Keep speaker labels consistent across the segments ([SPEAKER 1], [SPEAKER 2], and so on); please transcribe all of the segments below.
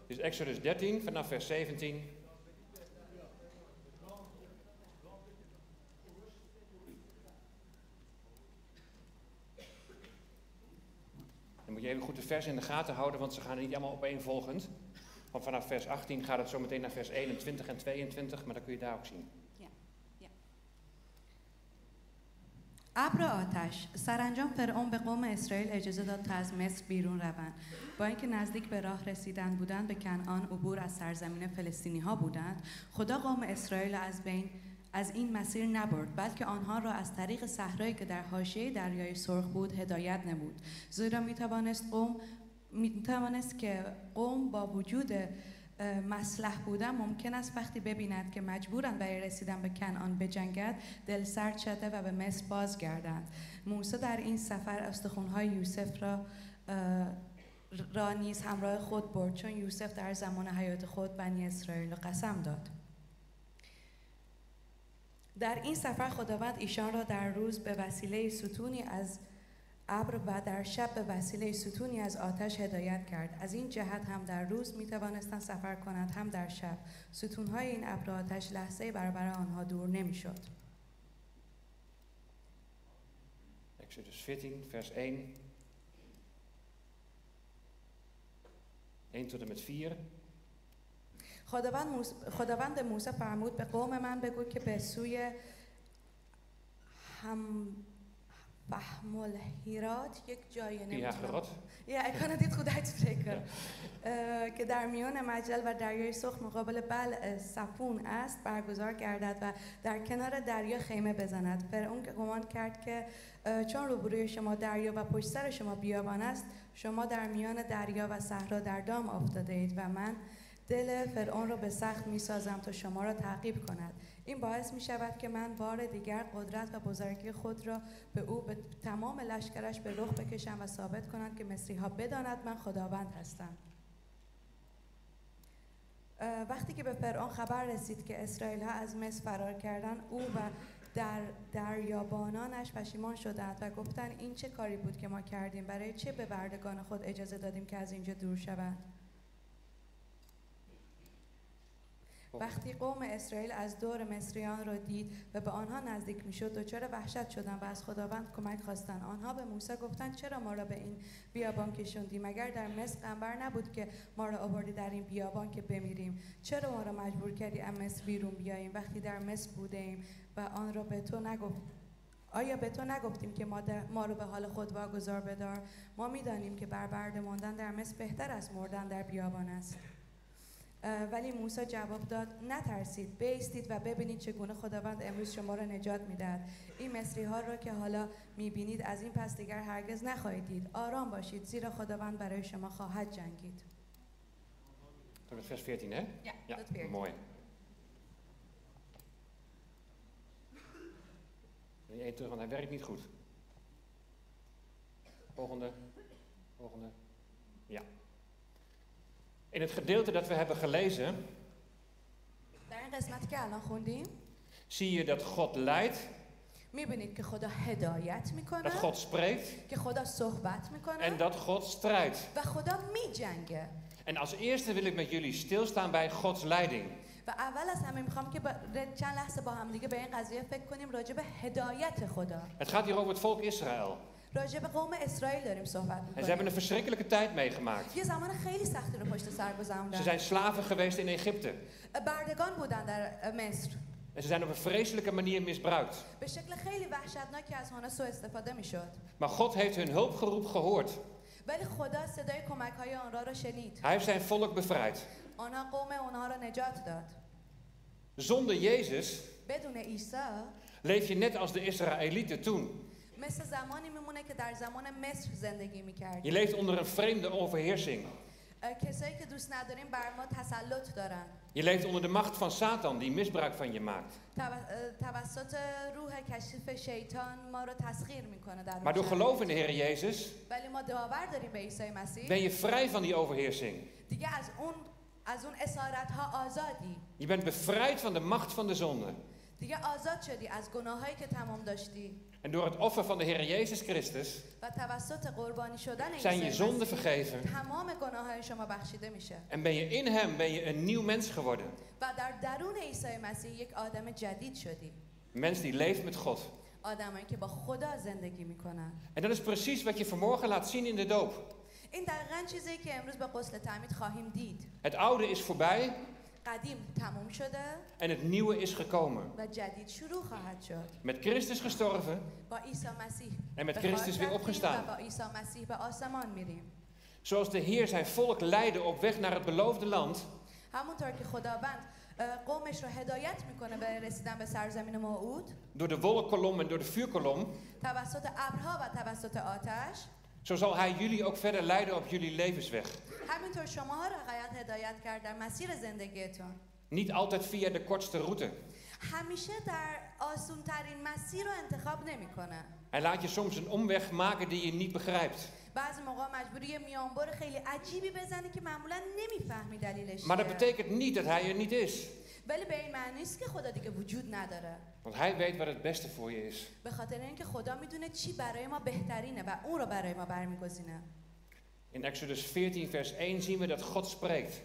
[SPEAKER 1] Het is Dus Exodus 13 vanaf vers 17. Dan moet je even goed de vers in de gaten houden, want ze gaan niet allemaal opeenvolgend. Want vanaf vers 18 gaat het zo meteen naar vers 21 en 22, maar dan kun je daar ook zien.
[SPEAKER 2] ابر آتش سرانجام فرعون به قوم اسرائیل اجازه داد تا از مصر بیرون روند با اینکه نزدیک به راه رسیدن بودند به کنعان عبور از سرزمین فلسطینی ها بودند خدا قوم اسرائیل را از بین از این مسیر نبرد بلکه آنها را از طریق صحرایی که در حاشیه دریای سرخ بود هدایت نمود زیرا می توانست قوم می توانست که قوم با وجود اه، مسلح بودن ممکن است وقتی ببیند که مجبورند برای رسیدن به کنعان بجنگد دل سرد شده و به مصر بازگردند موسی در این سفر استخوان‌های یوسف را اه، را نیز همراه خود برد چون یوسف در زمان حیات خود بنی اسرائیل را قسم داد در این سفر خداوند ایشان را در روز به وسیله ستونی از ابر و در شب به وسیله ستونی از آتش هدایت کرد از این جهت هم در روز می توانستند سفر کنند هم در شب ستونهای این ابر و آتش لحظه برابر آنها دور نمیشد
[SPEAKER 1] Exodus 14, vers 1. 1 tot en met 4.
[SPEAKER 2] خداوند, موس... خداوند به موسی فرمود به قوم من بگو که به سوی هم فهم الهیرات یک جایی
[SPEAKER 1] Ja,
[SPEAKER 2] نمی‌دونم.
[SPEAKER 1] gerot.
[SPEAKER 2] Ja, ik kan het niet goed uitspreken. Eh, که در میان مجل و دریای سرخ مقابل بل سفون است برگزار گردد و در کنار دریا خیمه بزند فرعون که گمان کرد که اه، چون روبروی شما دریا و پشت سر شما بیابان است شما در میان دریا و صحرا در دام افتاده اید و من دل فرعون را به سخت می سازم تا شما را تعقیب کند این باعث می شود که من بار دیگر قدرت و بزرگی خود را به او به تمام لشکرش به رخ بکشم و ثابت کنند که مصری ها بداند من خداوند هستم اه، وقتی که به فرعون خبر رسید که اسرائیل ها از مصر فرار کردن او و در دریابانانش پشیمان شدند و گفتند این چه کاری بود که ما کردیم برای چه به بردگان خود اجازه دادیم که از اینجا دور شوند وقتی قوم اسرائیل از دور مصریان را دید و به آنها نزدیک میشد دچار وحشت شدند و از خداوند کمک خواستند آنها به موسی گفتند چرا ما را به این بیابان کشوندی مگر در مصر قنبر نبود که ما را آوردی در این بیابان که بمیریم چرا ما را مجبور کردی از مصر بیرون بیاییم وقتی در مصر بوده ایم و آن را به تو نگفت آیا به تو نگفتیم که ما, در- ما رو به حال خود واگذار بدار ما میدانیم که بر برده ماندن در مصر بهتر از مردن در بیابان است اه، ولی موسی جواب داد نترسید بیستید و ببینید چگونه خداوند امروز شما را نجات میدهد این مصری ها را که حالا میبینید از این پس دیگر هرگز نخواهید دید آرام باشید زیرا خداوند برای شما خواهد جنگید
[SPEAKER 1] Tot en met vers 14, hè?
[SPEAKER 2] ja. dat weer.
[SPEAKER 1] mooi. Wil je één terug, want hij werkt niet goed. Volgende. Volgende. Ja. In het gedeelte dat we hebben gelezen,
[SPEAKER 2] در این قسمت که الان خوندیم
[SPEAKER 1] zie je dat God leidt,
[SPEAKER 2] میبینید که خدا هدایت
[SPEAKER 1] dat
[SPEAKER 2] میکنه
[SPEAKER 1] God spreekt
[SPEAKER 2] که خدا صحبت
[SPEAKER 1] en
[SPEAKER 2] میکنه
[SPEAKER 1] dat God strijdt.
[SPEAKER 2] و خدا میجنگه
[SPEAKER 1] En als eerste wil ik met jullie stilstaan bij Gods leiding.
[SPEAKER 2] و اول از همه میخوام که با- چند لحظه با هم دیگه به این قضیه فکر کنیم راجع به هدایت خدا
[SPEAKER 1] Het gaat hier over het volk Israël.
[SPEAKER 2] راجع به قوم اسرائیل داریم صحبت
[SPEAKER 1] En ze hebben
[SPEAKER 2] میکنیم
[SPEAKER 1] een verschrikkelijke tijd meegemaakt.
[SPEAKER 2] یه زمان خیلی سختی رو پشت سر
[SPEAKER 1] Ze
[SPEAKER 2] گذروندن
[SPEAKER 1] zijn slaven geweest in Egypte.
[SPEAKER 2] بردگان بودن در مصر
[SPEAKER 1] En ze zijn op een vreselijke manier misbruikt.
[SPEAKER 2] به شکل خیلی وحشتناکی از آنها سوء استفاده میشد
[SPEAKER 1] Maar God heeft hun hulpgeroep gehoord.
[SPEAKER 2] ولی خدا صدای کمک های آنها را شنید
[SPEAKER 1] Hij heeft zijn volk bevrijd.
[SPEAKER 2] آنها قوم آنها را نجات داد
[SPEAKER 1] Zonder Jezus
[SPEAKER 2] بدون عیسی
[SPEAKER 1] leef je net als de Israëlieten toen.
[SPEAKER 2] مثل زمانی میمونه که در زمان مصر زندگی میکرد
[SPEAKER 1] Je leeft onder een vreemde overheersing.
[SPEAKER 2] کسایی که دوست نداریم بر ما تسلط دارن
[SPEAKER 1] Je leeft onder de macht van Satan die misbruik van je maakt.
[SPEAKER 2] تو- اه، توسط روح کشف شیطان ما رو تسخیر میکنه در اون
[SPEAKER 1] Maar door
[SPEAKER 2] شرایط.
[SPEAKER 1] geloof in de Heer Jezus
[SPEAKER 2] ولی ما باور داریم به عیسی مسیح
[SPEAKER 1] ben je vrij van die overheersing.
[SPEAKER 2] دیگه از اون از اون اسارت ها آزادی
[SPEAKER 1] Je bent bevrijd van de macht van de zonde.
[SPEAKER 2] دیگه آزاد شدی از گناهایی که تمام داشتی
[SPEAKER 1] En door het offer van de Heer Jezus Christus
[SPEAKER 2] و توسط قربانی شدن
[SPEAKER 1] zijn
[SPEAKER 2] عیسی
[SPEAKER 1] je zonden
[SPEAKER 2] مسیح
[SPEAKER 1] vergeven.
[SPEAKER 2] تمام گناه های شما بخشیده میشه
[SPEAKER 1] En ben je in hem ben je een nieuw mens geworden.
[SPEAKER 2] و در درون عیسی مسیح یک آدم جدید شدیم
[SPEAKER 1] Een mens die leeft met God.
[SPEAKER 2] آدمایی که با خدا زندگی میکنن
[SPEAKER 1] En dat is precies wat je vanmorgen laat zien in de doop.
[SPEAKER 2] این دقیقا چیزی که امروز با غسل تعمید خواهیم دید
[SPEAKER 1] Het oude is voorbij
[SPEAKER 2] قدیم تموم شده
[SPEAKER 1] en het nieuwe is gekomen.
[SPEAKER 2] و جدید شروع خواهد شد
[SPEAKER 1] Met Christus gestorven
[SPEAKER 2] با عیسی مسیح
[SPEAKER 1] en met
[SPEAKER 2] به خاک
[SPEAKER 1] Christus weer
[SPEAKER 2] رفتیم و
[SPEAKER 1] opgestaan.
[SPEAKER 2] با عیسی مسیح به آسمان میریم
[SPEAKER 1] Zoals de Heer zijn volk leidde op weg naar het beloofde land,
[SPEAKER 2] همونطور که خداوند اه، قومش رو هدایت میکنه به رسیدن به سرزمین موعود
[SPEAKER 1] door de wolkkolom en door de vuurkolom,
[SPEAKER 2] توسط ابرها و توسط آتش
[SPEAKER 1] zo zal Hij jullie ook verder leiden op jullie levensweg.
[SPEAKER 2] همینطور شماها را قایت هدایت کرد در مسیر زندگیتون
[SPEAKER 1] Niet altijd via de kortste route.
[SPEAKER 2] همیشه در آسون ترین مسیر رو انتخاب نمیکنه
[SPEAKER 1] Hij laat je soms een omweg maken die je niet begrijpt.
[SPEAKER 2] بعضی موقع مجبوری یه میانبر خیلی عجیبی بزنی که معمولا نمیفهمی دلیلش
[SPEAKER 1] Maar dat
[SPEAKER 2] چیه.
[SPEAKER 1] betekent niet dat Hij er niet is.
[SPEAKER 2] ولی به این معنی نیست که خدا دیگه وجود نداره
[SPEAKER 1] Want Hij weet wat het beste voor je is.
[SPEAKER 2] به خاطر اینکه خدا میدونه چی برای ما بهترینه و اون رو برای ما برمیگزینه
[SPEAKER 1] In Exodus 14, vers 1 zien we dat God spreekt.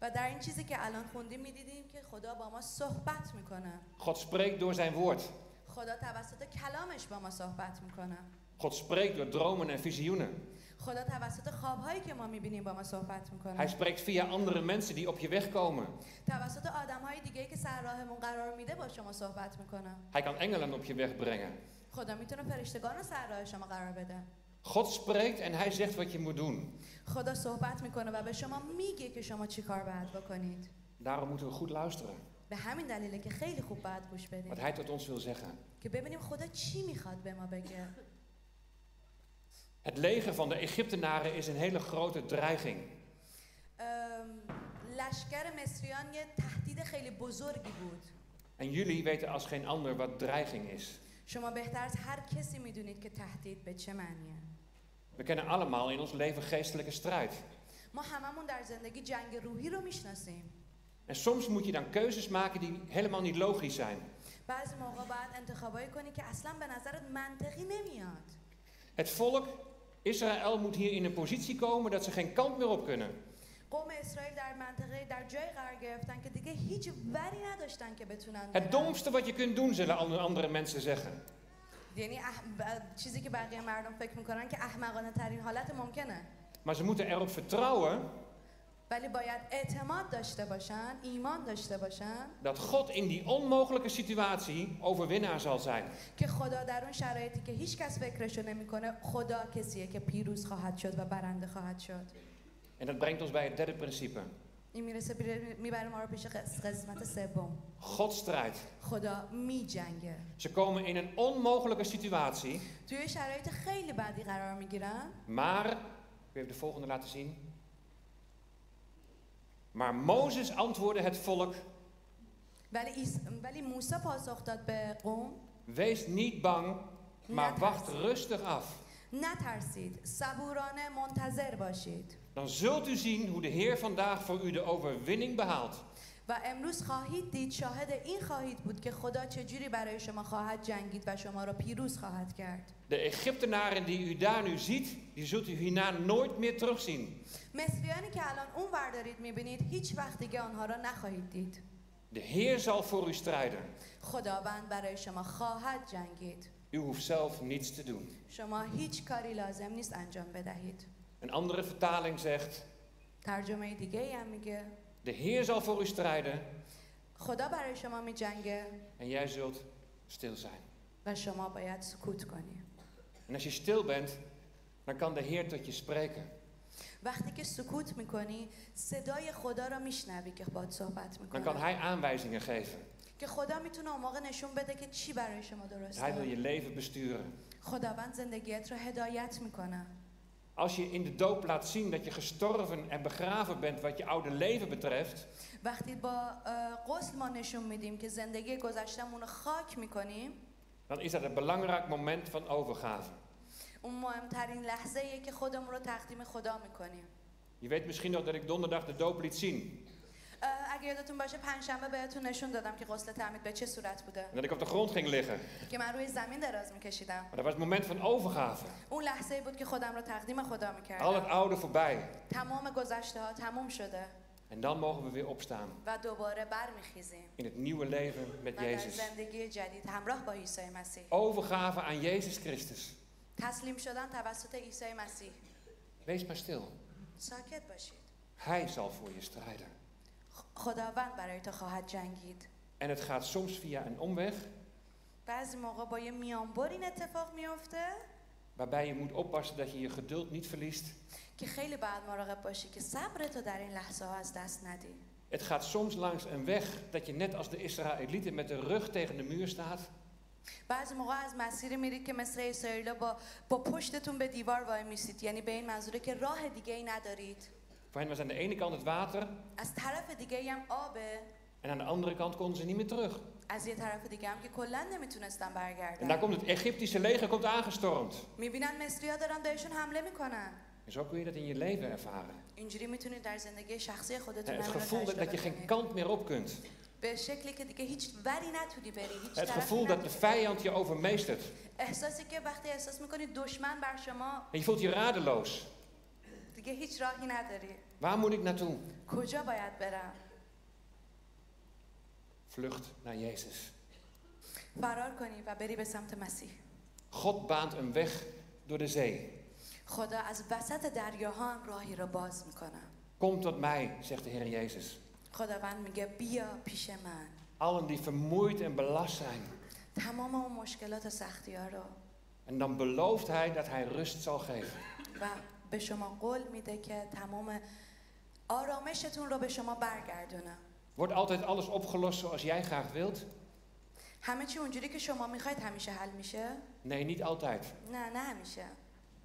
[SPEAKER 2] و در این چیزی که الان خوندیم میدیدیم که خدا با ما صحبت میکنه
[SPEAKER 1] God spreekt door zijn woord.
[SPEAKER 2] خدا توسط کلامش با ما صحبت میکنه
[SPEAKER 1] God spreekt door dromen en visioenen.
[SPEAKER 2] خدا توسط خوابهایی که ما میبینیم با ما صحبت میکنه
[SPEAKER 1] Hij spreekt via andere mensen die op je weg komen.
[SPEAKER 2] توسط آدمهای دیگه که سر راهمون قرار میده با شما صحبت میکنه
[SPEAKER 1] Hij kan engelen op je weg brengen.
[SPEAKER 2] خدا میتونه فرشتگان رو سر راه شما قرار بده
[SPEAKER 1] God spreekt en hij zegt wat je moet doen.
[SPEAKER 2] خدا صحبت میکنه و به شما میگه که شما چی کار باید بکنید
[SPEAKER 1] Daarom moeten we goed luisteren
[SPEAKER 2] به همین دلیله که خیلی خوب باید گوش بدیم
[SPEAKER 1] wat hij tot ons wil zeggen.
[SPEAKER 2] که ببینیم خدا چی میخواد به ما بگه
[SPEAKER 1] Het leger van de Egyptenaren is een hele grote dreiging.
[SPEAKER 2] ام، لشکر مصریان یه تهدید خیلی بزرگی بود
[SPEAKER 1] En jullie weten als geen ander wat dreiging is.
[SPEAKER 2] شما بهتر از هر کسی میدونید که تهدید به چه معنیه
[SPEAKER 1] We kennen allemaal in ons leven geestelijke strijd.
[SPEAKER 2] ما هممون در زندگی جنگ روحی رو میشناسیم
[SPEAKER 1] En soms moet je dan keuzes maken die helemaal niet logisch zijn.
[SPEAKER 2] بعضی موقع باید انتخابایی کنی که اصلا به نظرت منطقی نمیاد
[SPEAKER 1] Het volk Israël moet hier in een positie komen dat ze geen kant meer op kunnen.
[SPEAKER 2] قوم اسرائیل در منطقه در جای قرار گرفتن که دیگه هیچ وری نداشتن که بتونن برن.
[SPEAKER 1] Het domste wat je kunt doen, zullen an- andere mensen zeggen.
[SPEAKER 2] یعنی اح- ب- چیزی که بقیه مردم فکر میکنن که احمقانه ترین حالت ممکنه
[SPEAKER 1] Maar ze moeten erop vertrouwen
[SPEAKER 2] ولی باید اعتماد داشته باشن ایمان داشته باشن
[SPEAKER 1] dat God in die onmogelijke situatie overwinnaar zal zijn.
[SPEAKER 2] که خدا در اون شرایطی که هیچ کس فکرشو نمیکنه خدا کسیه که پیروز خواهد شد و برنده خواهد شد
[SPEAKER 1] En dat brengt ons bij het derde principe.
[SPEAKER 2] این میرسه میبره ما رو پیش قس- قسمت سوم
[SPEAKER 1] God strijdt.
[SPEAKER 2] خدا میجنگه
[SPEAKER 1] Ze komen in een onmogelijke situatie,
[SPEAKER 2] توی شرایط خیلی بدی قرار میگیرن
[SPEAKER 1] maar... Ik wil even de volgende laten zien. Maar Mozes antwoordde het volk,
[SPEAKER 2] ولی, ایس... ولی موسی پاسخ داد به قوم
[SPEAKER 1] wees niet bang, maar wacht
[SPEAKER 2] نترسید
[SPEAKER 1] rustig af.
[SPEAKER 2] نترسید صبورانه منتظر باشید
[SPEAKER 1] Dan zult u zien hoe de Heer vandaag voor u de overwinning behaalt.
[SPEAKER 2] و امروز خواهید دید شاهد این خواهید بود که خدا چجوری برای شما خواهد جنگید و شما را پیروز خواهد کرد
[SPEAKER 1] De Egyptenaren die u daar nu ziet, die zult u hierna nooit meer terugzien.
[SPEAKER 2] مصریانی که الان اون ور دارید میبینید هیچ وقت دیگه آنها را نخواهید دید
[SPEAKER 1] De Heer zal voor u strijden.
[SPEAKER 2] خداوند برای شما خواهد جنگید
[SPEAKER 1] U hoeft zelf niets te doen.
[SPEAKER 2] شما هیچ کاری لازم نیست انجام بدهید
[SPEAKER 1] Een andere vertaling zegt:
[SPEAKER 2] ترجمه دیگه ای هم میگه
[SPEAKER 1] De Heer zal voor u strijden
[SPEAKER 2] خدا برای شما میجنگه
[SPEAKER 1] en jij zult stil zijn.
[SPEAKER 2] و شما باید سکوت کنی
[SPEAKER 1] En als je stil bent, dan kan de Heer tot je spreken.
[SPEAKER 2] وقتی که سکوت میکنی صدای خدا را میشنوی که باد صحبت
[SPEAKER 1] Dan kan
[SPEAKER 2] میکنه
[SPEAKER 1] Hij aanwijzingen geven.
[SPEAKER 2] که خدا میتونه اون موقع نشون بده که چی برای شما
[SPEAKER 1] Hij wil
[SPEAKER 2] درسته
[SPEAKER 1] je leven besturen.
[SPEAKER 2] خداوند زندگیت رو هدایت میکنه
[SPEAKER 1] Als je in de doop laat zien dat je gestorven en begraven bent wat je oude leven betreft,
[SPEAKER 2] وقتی با اه، غسل ما نشون میدیم که زندگی گذشتمون رو خاک میکنیم
[SPEAKER 1] dan is dat een belangrijk moment van overgave.
[SPEAKER 2] اون مهمترین لحظه ایه که خودمون رو تقدیم خدا میکنیم
[SPEAKER 1] Je weet misschien nog dat ik donderdag de doop liet zien.
[SPEAKER 2] اگه یادتون باشه پنجشنبه بهتون نشون دادم که غسل تعمید به چه صورت بوده
[SPEAKER 1] En dat ik op de grond ging liggen.
[SPEAKER 2] که من روی زمین دراز میکشیدم
[SPEAKER 1] Maar dat was het moment van overgave.
[SPEAKER 2] اون لحظه ای بود که خودم رو تقدیم خدا
[SPEAKER 1] Al het
[SPEAKER 2] میکردم
[SPEAKER 1] oude voorbij.
[SPEAKER 2] تمام گذشته ها تموم شده
[SPEAKER 1] En dan mogen we weer opstaan
[SPEAKER 2] و دوباره برمیخیزیم
[SPEAKER 1] in het nieuwe leven
[SPEAKER 2] و
[SPEAKER 1] met
[SPEAKER 2] در
[SPEAKER 1] Jezus.
[SPEAKER 2] زندگی جدید همراه با عیسی مسیح
[SPEAKER 1] Overgave aan Jezus Christus.
[SPEAKER 2] تسلیم شدن توسط عیسی مسیح
[SPEAKER 1] Wees maar stil.
[SPEAKER 2] ساکت باشید
[SPEAKER 1] Hij zal voor je strijden.
[SPEAKER 2] خ- خداوند برای تو خواهد جنگید
[SPEAKER 1] En het gaat soms via een omweg
[SPEAKER 2] بعضی موقع با یه میانبر این اتفاق میفته
[SPEAKER 1] waarbij je moet oppassen dat je je geduld niet verliest.
[SPEAKER 2] که خیلی باید مراقب باشی که صبر تو در این لحظه ها از دست ندی
[SPEAKER 1] Het gaat soms langs een weg dat je net als de Israëlieten met de rug tegen de muur staat.
[SPEAKER 2] بعضی موقع از مسیری میرید که مثل اسرائیل با, با پشتتون به دیوار وای میسید یعنی به این منظوره که راه دیگه ای ندارید
[SPEAKER 1] Voor hen was aan de ene kant het water
[SPEAKER 2] از طرف دیگه ای هم آبه
[SPEAKER 1] en aan de andere kant konden ze niet meer terug.
[SPEAKER 2] از یه طرف دیگه هم که کلا نمیتونستن
[SPEAKER 1] En daar
[SPEAKER 2] برگردن
[SPEAKER 1] komt het Egyptische leger komt aangestormd.
[SPEAKER 2] میبینن مصری ها دارن بهشون حمله میکنن
[SPEAKER 1] En zo kun je dat in je leven ervaren.
[SPEAKER 2] اینجوری میتونید در زندگی شخصی خودتون
[SPEAKER 1] En het
[SPEAKER 2] همین رو
[SPEAKER 1] gevoel dat,
[SPEAKER 2] تجربه
[SPEAKER 1] dat je geen
[SPEAKER 2] کنید.
[SPEAKER 1] kant meer op kunt.
[SPEAKER 2] به شکلی که دیگه هیچ وری نتونی بری هیچ
[SPEAKER 1] Het
[SPEAKER 2] طرفی
[SPEAKER 1] gevoel dat de
[SPEAKER 2] نتونی.
[SPEAKER 1] vijand je overmeestert.
[SPEAKER 2] احساسی که وقتی احساس میکنی دشمن بر شما
[SPEAKER 1] En je voelt je radeloos.
[SPEAKER 2] دیگه هیچ راهی نداری
[SPEAKER 1] Waar moet ik naartoe?
[SPEAKER 2] کجا باید برم
[SPEAKER 1] Vlucht naar Jezus.
[SPEAKER 2] فرار کنی و بری به سمت مسیح
[SPEAKER 1] God baant een weg door de zee.
[SPEAKER 2] خدا از وسط دریاها هم راهی را باز میکنم
[SPEAKER 1] Kom tot mij, zegt de Heer Jezus.
[SPEAKER 2] خداوند میگه بیا پیش من
[SPEAKER 1] Allen die vermoeid en belast zijn.
[SPEAKER 2] تمام اون مشکلات و سختی ها رو
[SPEAKER 1] En dan belooft Hij dat Hij rust zal geven.
[SPEAKER 2] و به شما قول میده که تمام آرامشتون رو به شما برگردونم
[SPEAKER 1] Wordt altijd alles opgelost zoals jij graag wilt?
[SPEAKER 2] همه چی اونجوری که شما میخواید همیشه حل میشه
[SPEAKER 1] Nee, niet altijd.
[SPEAKER 2] نه نه همیشه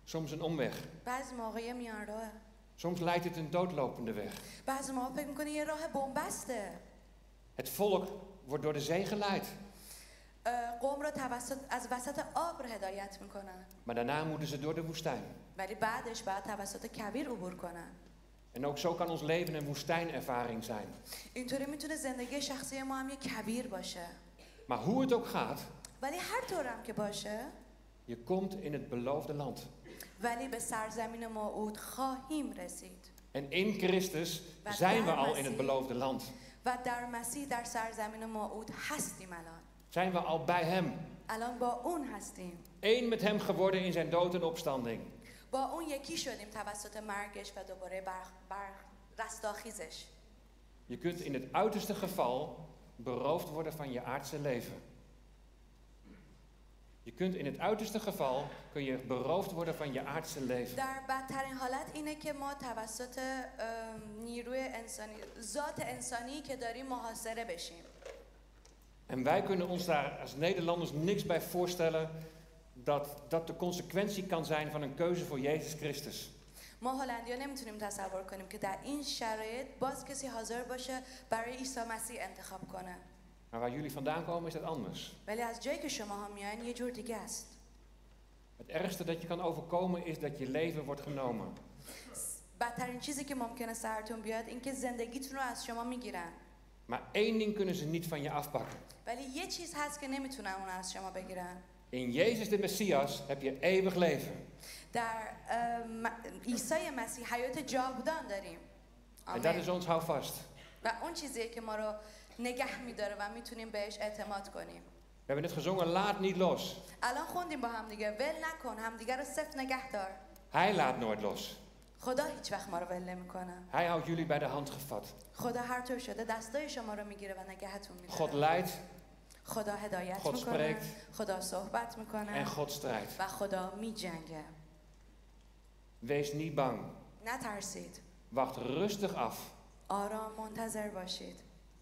[SPEAKER 1] Soms een omweg.
[SPEAKER 2] بعضی موقع یه میان راه
[SPEAKER 1] Soms lijkt het een doodlopende weg.
[SPEAKER 2] بعضی موقع فکر میکنی یه راه بنبسته
[SPEAKER 1] Het volk wordt door de zee geleid.
[SPEAKER 2] اه، قوم رو توسط از وسط آب رو هدایت میکنن
[SPEAKER 1] Maar daarna moeten ze door de woestijn.
[SPEAKER 2] ولی بعدش باید توسط کویر عبور کنن
[SPEAKER 1] En ook zo kan ons leven een woestijnervaring zijn.
[SPEAKER 2] اینطوری میتونه زندگی شخصی ما هم یه کویر باشه
[SPEAKER 1] Maar hoe het ook gaat,
[SPEAKER 2] ولی هر طورم که باشه
[SPEAKER 1] je komt in het beloofde land.
[SPEAKER 2] ولی به سرزمین موعود خواهیم رسید
[SPEAKER 1] En in Christus
[SPEAKER 2] Waar
[SPEAKER 1] zijn we
[SPEAKER 2] daar
[SPEAKER 1] al
[SPEAKER 2] was
[SPEAKER 1] in het
[SPEAKER 2] hij.
[SPEAKER 1] beloofde land.
[SPEAKER 2] و در مسیح در سرزمین موعود هستیم الان
[SPEAKER 1] Zijn we al bij Hem.
[SPEAKER 2] الان با اون هستیم
[SPEAKER 1] Eén met Hem geworden in zijn dood en opstanding.
[SPEAKER 2] با اون یکی شدیم توسط مرگش و دوباره بر, بر رستاخیزش
[SPEAKER 1] Je kunt in het uiterste geval beroofd worden van je aardse leven. Je kunt in het uiterste geval kun je beroofd worden van je aardse leven.
[SPEAKER 2] در بدترین حالت اینه که ما توسط ام، نیروی انسانی ذات انسانی که داریم محاصره بشیم
[SPEAKER 1] En wij kunnen ons daar als Nederlanders niks bij voorstellen dat dat de consequentie kan zijn van een keuze voor Jezus Christus.
[SPEAKER 2] ما هلندیا نمیتونیم تصور کنیم که در این شرایط باز کسی حاضر باشه برای عیسی مسیح انتخاب کنه
[SPEAKER 1] Maar waar jullie vandaan komen is dat anders.
[SPEAKER 2] ولی از جایی که شما ها میان یه جور دیگه است
[SPEAKER 1] Het ergste dat je kan overkomen is dat je leven wordt genomen.
[SPEAKER 2] بدترین چیزی که ممکنه سرتون بیاد اینکه زندگیتون رو از شما میگیرن
[SPEAKER 1] Maar één ding kunnen ze niet van je afpakken.
[SPEAKER 2] ولی یه چیز هست که نمیتونن اون از شما بگیرن
[SPEAKER 1] In Jezus de Messias heb je eeuwig leven.
[SPEAKER 2] در ام، عیسی مسیح حیات جاودان داریم
[SPEAKER 1] En dat
[SPEAKER 2] آمین.
[SPEAKER 1] is ons houvast.
[SPEAKER 2] و اون چیزیه که ما رو نگه میداره و میتونیم بهش اعتماد کنیم
[SPEAKER 1] We hebben net gezongen, laat niet los.
[SPEAKER 2] الان خوندیم با هم دیگه ول نکن همدیگه رو سفت نگه دار
[SPEAKER 1] Hij laat nooit los.
[SPEAKER 2] خدا هیچ وقت ما رو ول نمیکنه
[SPEAKER 1] Hij houdt jullie bij de hand gevat.
[SPEAKER 2] خدا هر طور شده دستای شما رو میگیره و نگهتون
[SPEAKER 1] God
[SPEAKER 2] میداره
[SPEAKER 1] leidt
[SPEAKER 2] خدا هدایت
[SPEAKER 1] God
[SPEAKER 2] میکنه
[SPEAKER 1] spreekt.
[SPEAKER 2] خدا صحبت
[SPEAKER 1] en
[SPEAKER 2] میکنه
[SPEAKER 1] God strijdt.
[SPEAKER 2] و خدا میجنگه
[SPEAKER 1] Wees niet bang.
[SPEAKER 2] نترسید
[SPEAKER 1] Wacht rustig af.
[SPEAKER 2] آرام منتظر باشید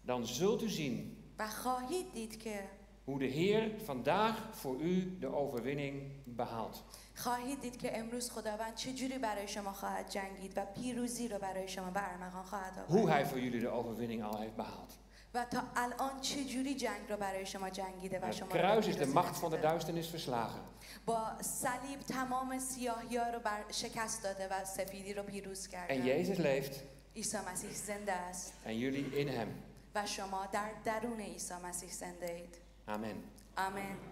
[SPEAKER 1] Dan zult u zien
[SPEAKER 2] و خواهید دید که
[SPEAKER 1] hoe de Heer vandaag voor u de overwinning behaalt.
[SPEAKER 2] خواهید دید که امروز خداوند چه جوری برای شما خواهد جنگید و پیروزی رو برای شما به ارمغان خواهد آورد
[SPEAKER 1] Hoe Hij voor jullie de overwinning al heeft behaald.
[SPEAKER 2] و تا الان چه جوری جنگ رو برای شما جنگیده و
[SPEAKER 1] Het
[SPEAKER 2] شما رو به
[SPEAKER 1] kruis is de
[SPEAKER 2] پیروزی
[SPEAKER 1] macht van de
[SPEAKER 2] رسونده.
[SPEAKER 1] duisternis verslagen.
[SPEAKER 2] با صلیب تمام سیاهی ها رو بر شکست داده و سفیدی رو پیروز کرده
[SPEAKER 1] En Jezus leeft
[SPEAKER 2] عیسی مسیح زنده است
[SPEAKER 1] and you in him.
[SPEAKER 2] و شما در درون عیسی مسیح زنده اید
[SPEAKER 1] Amen.
[SPEAKER 2] آمین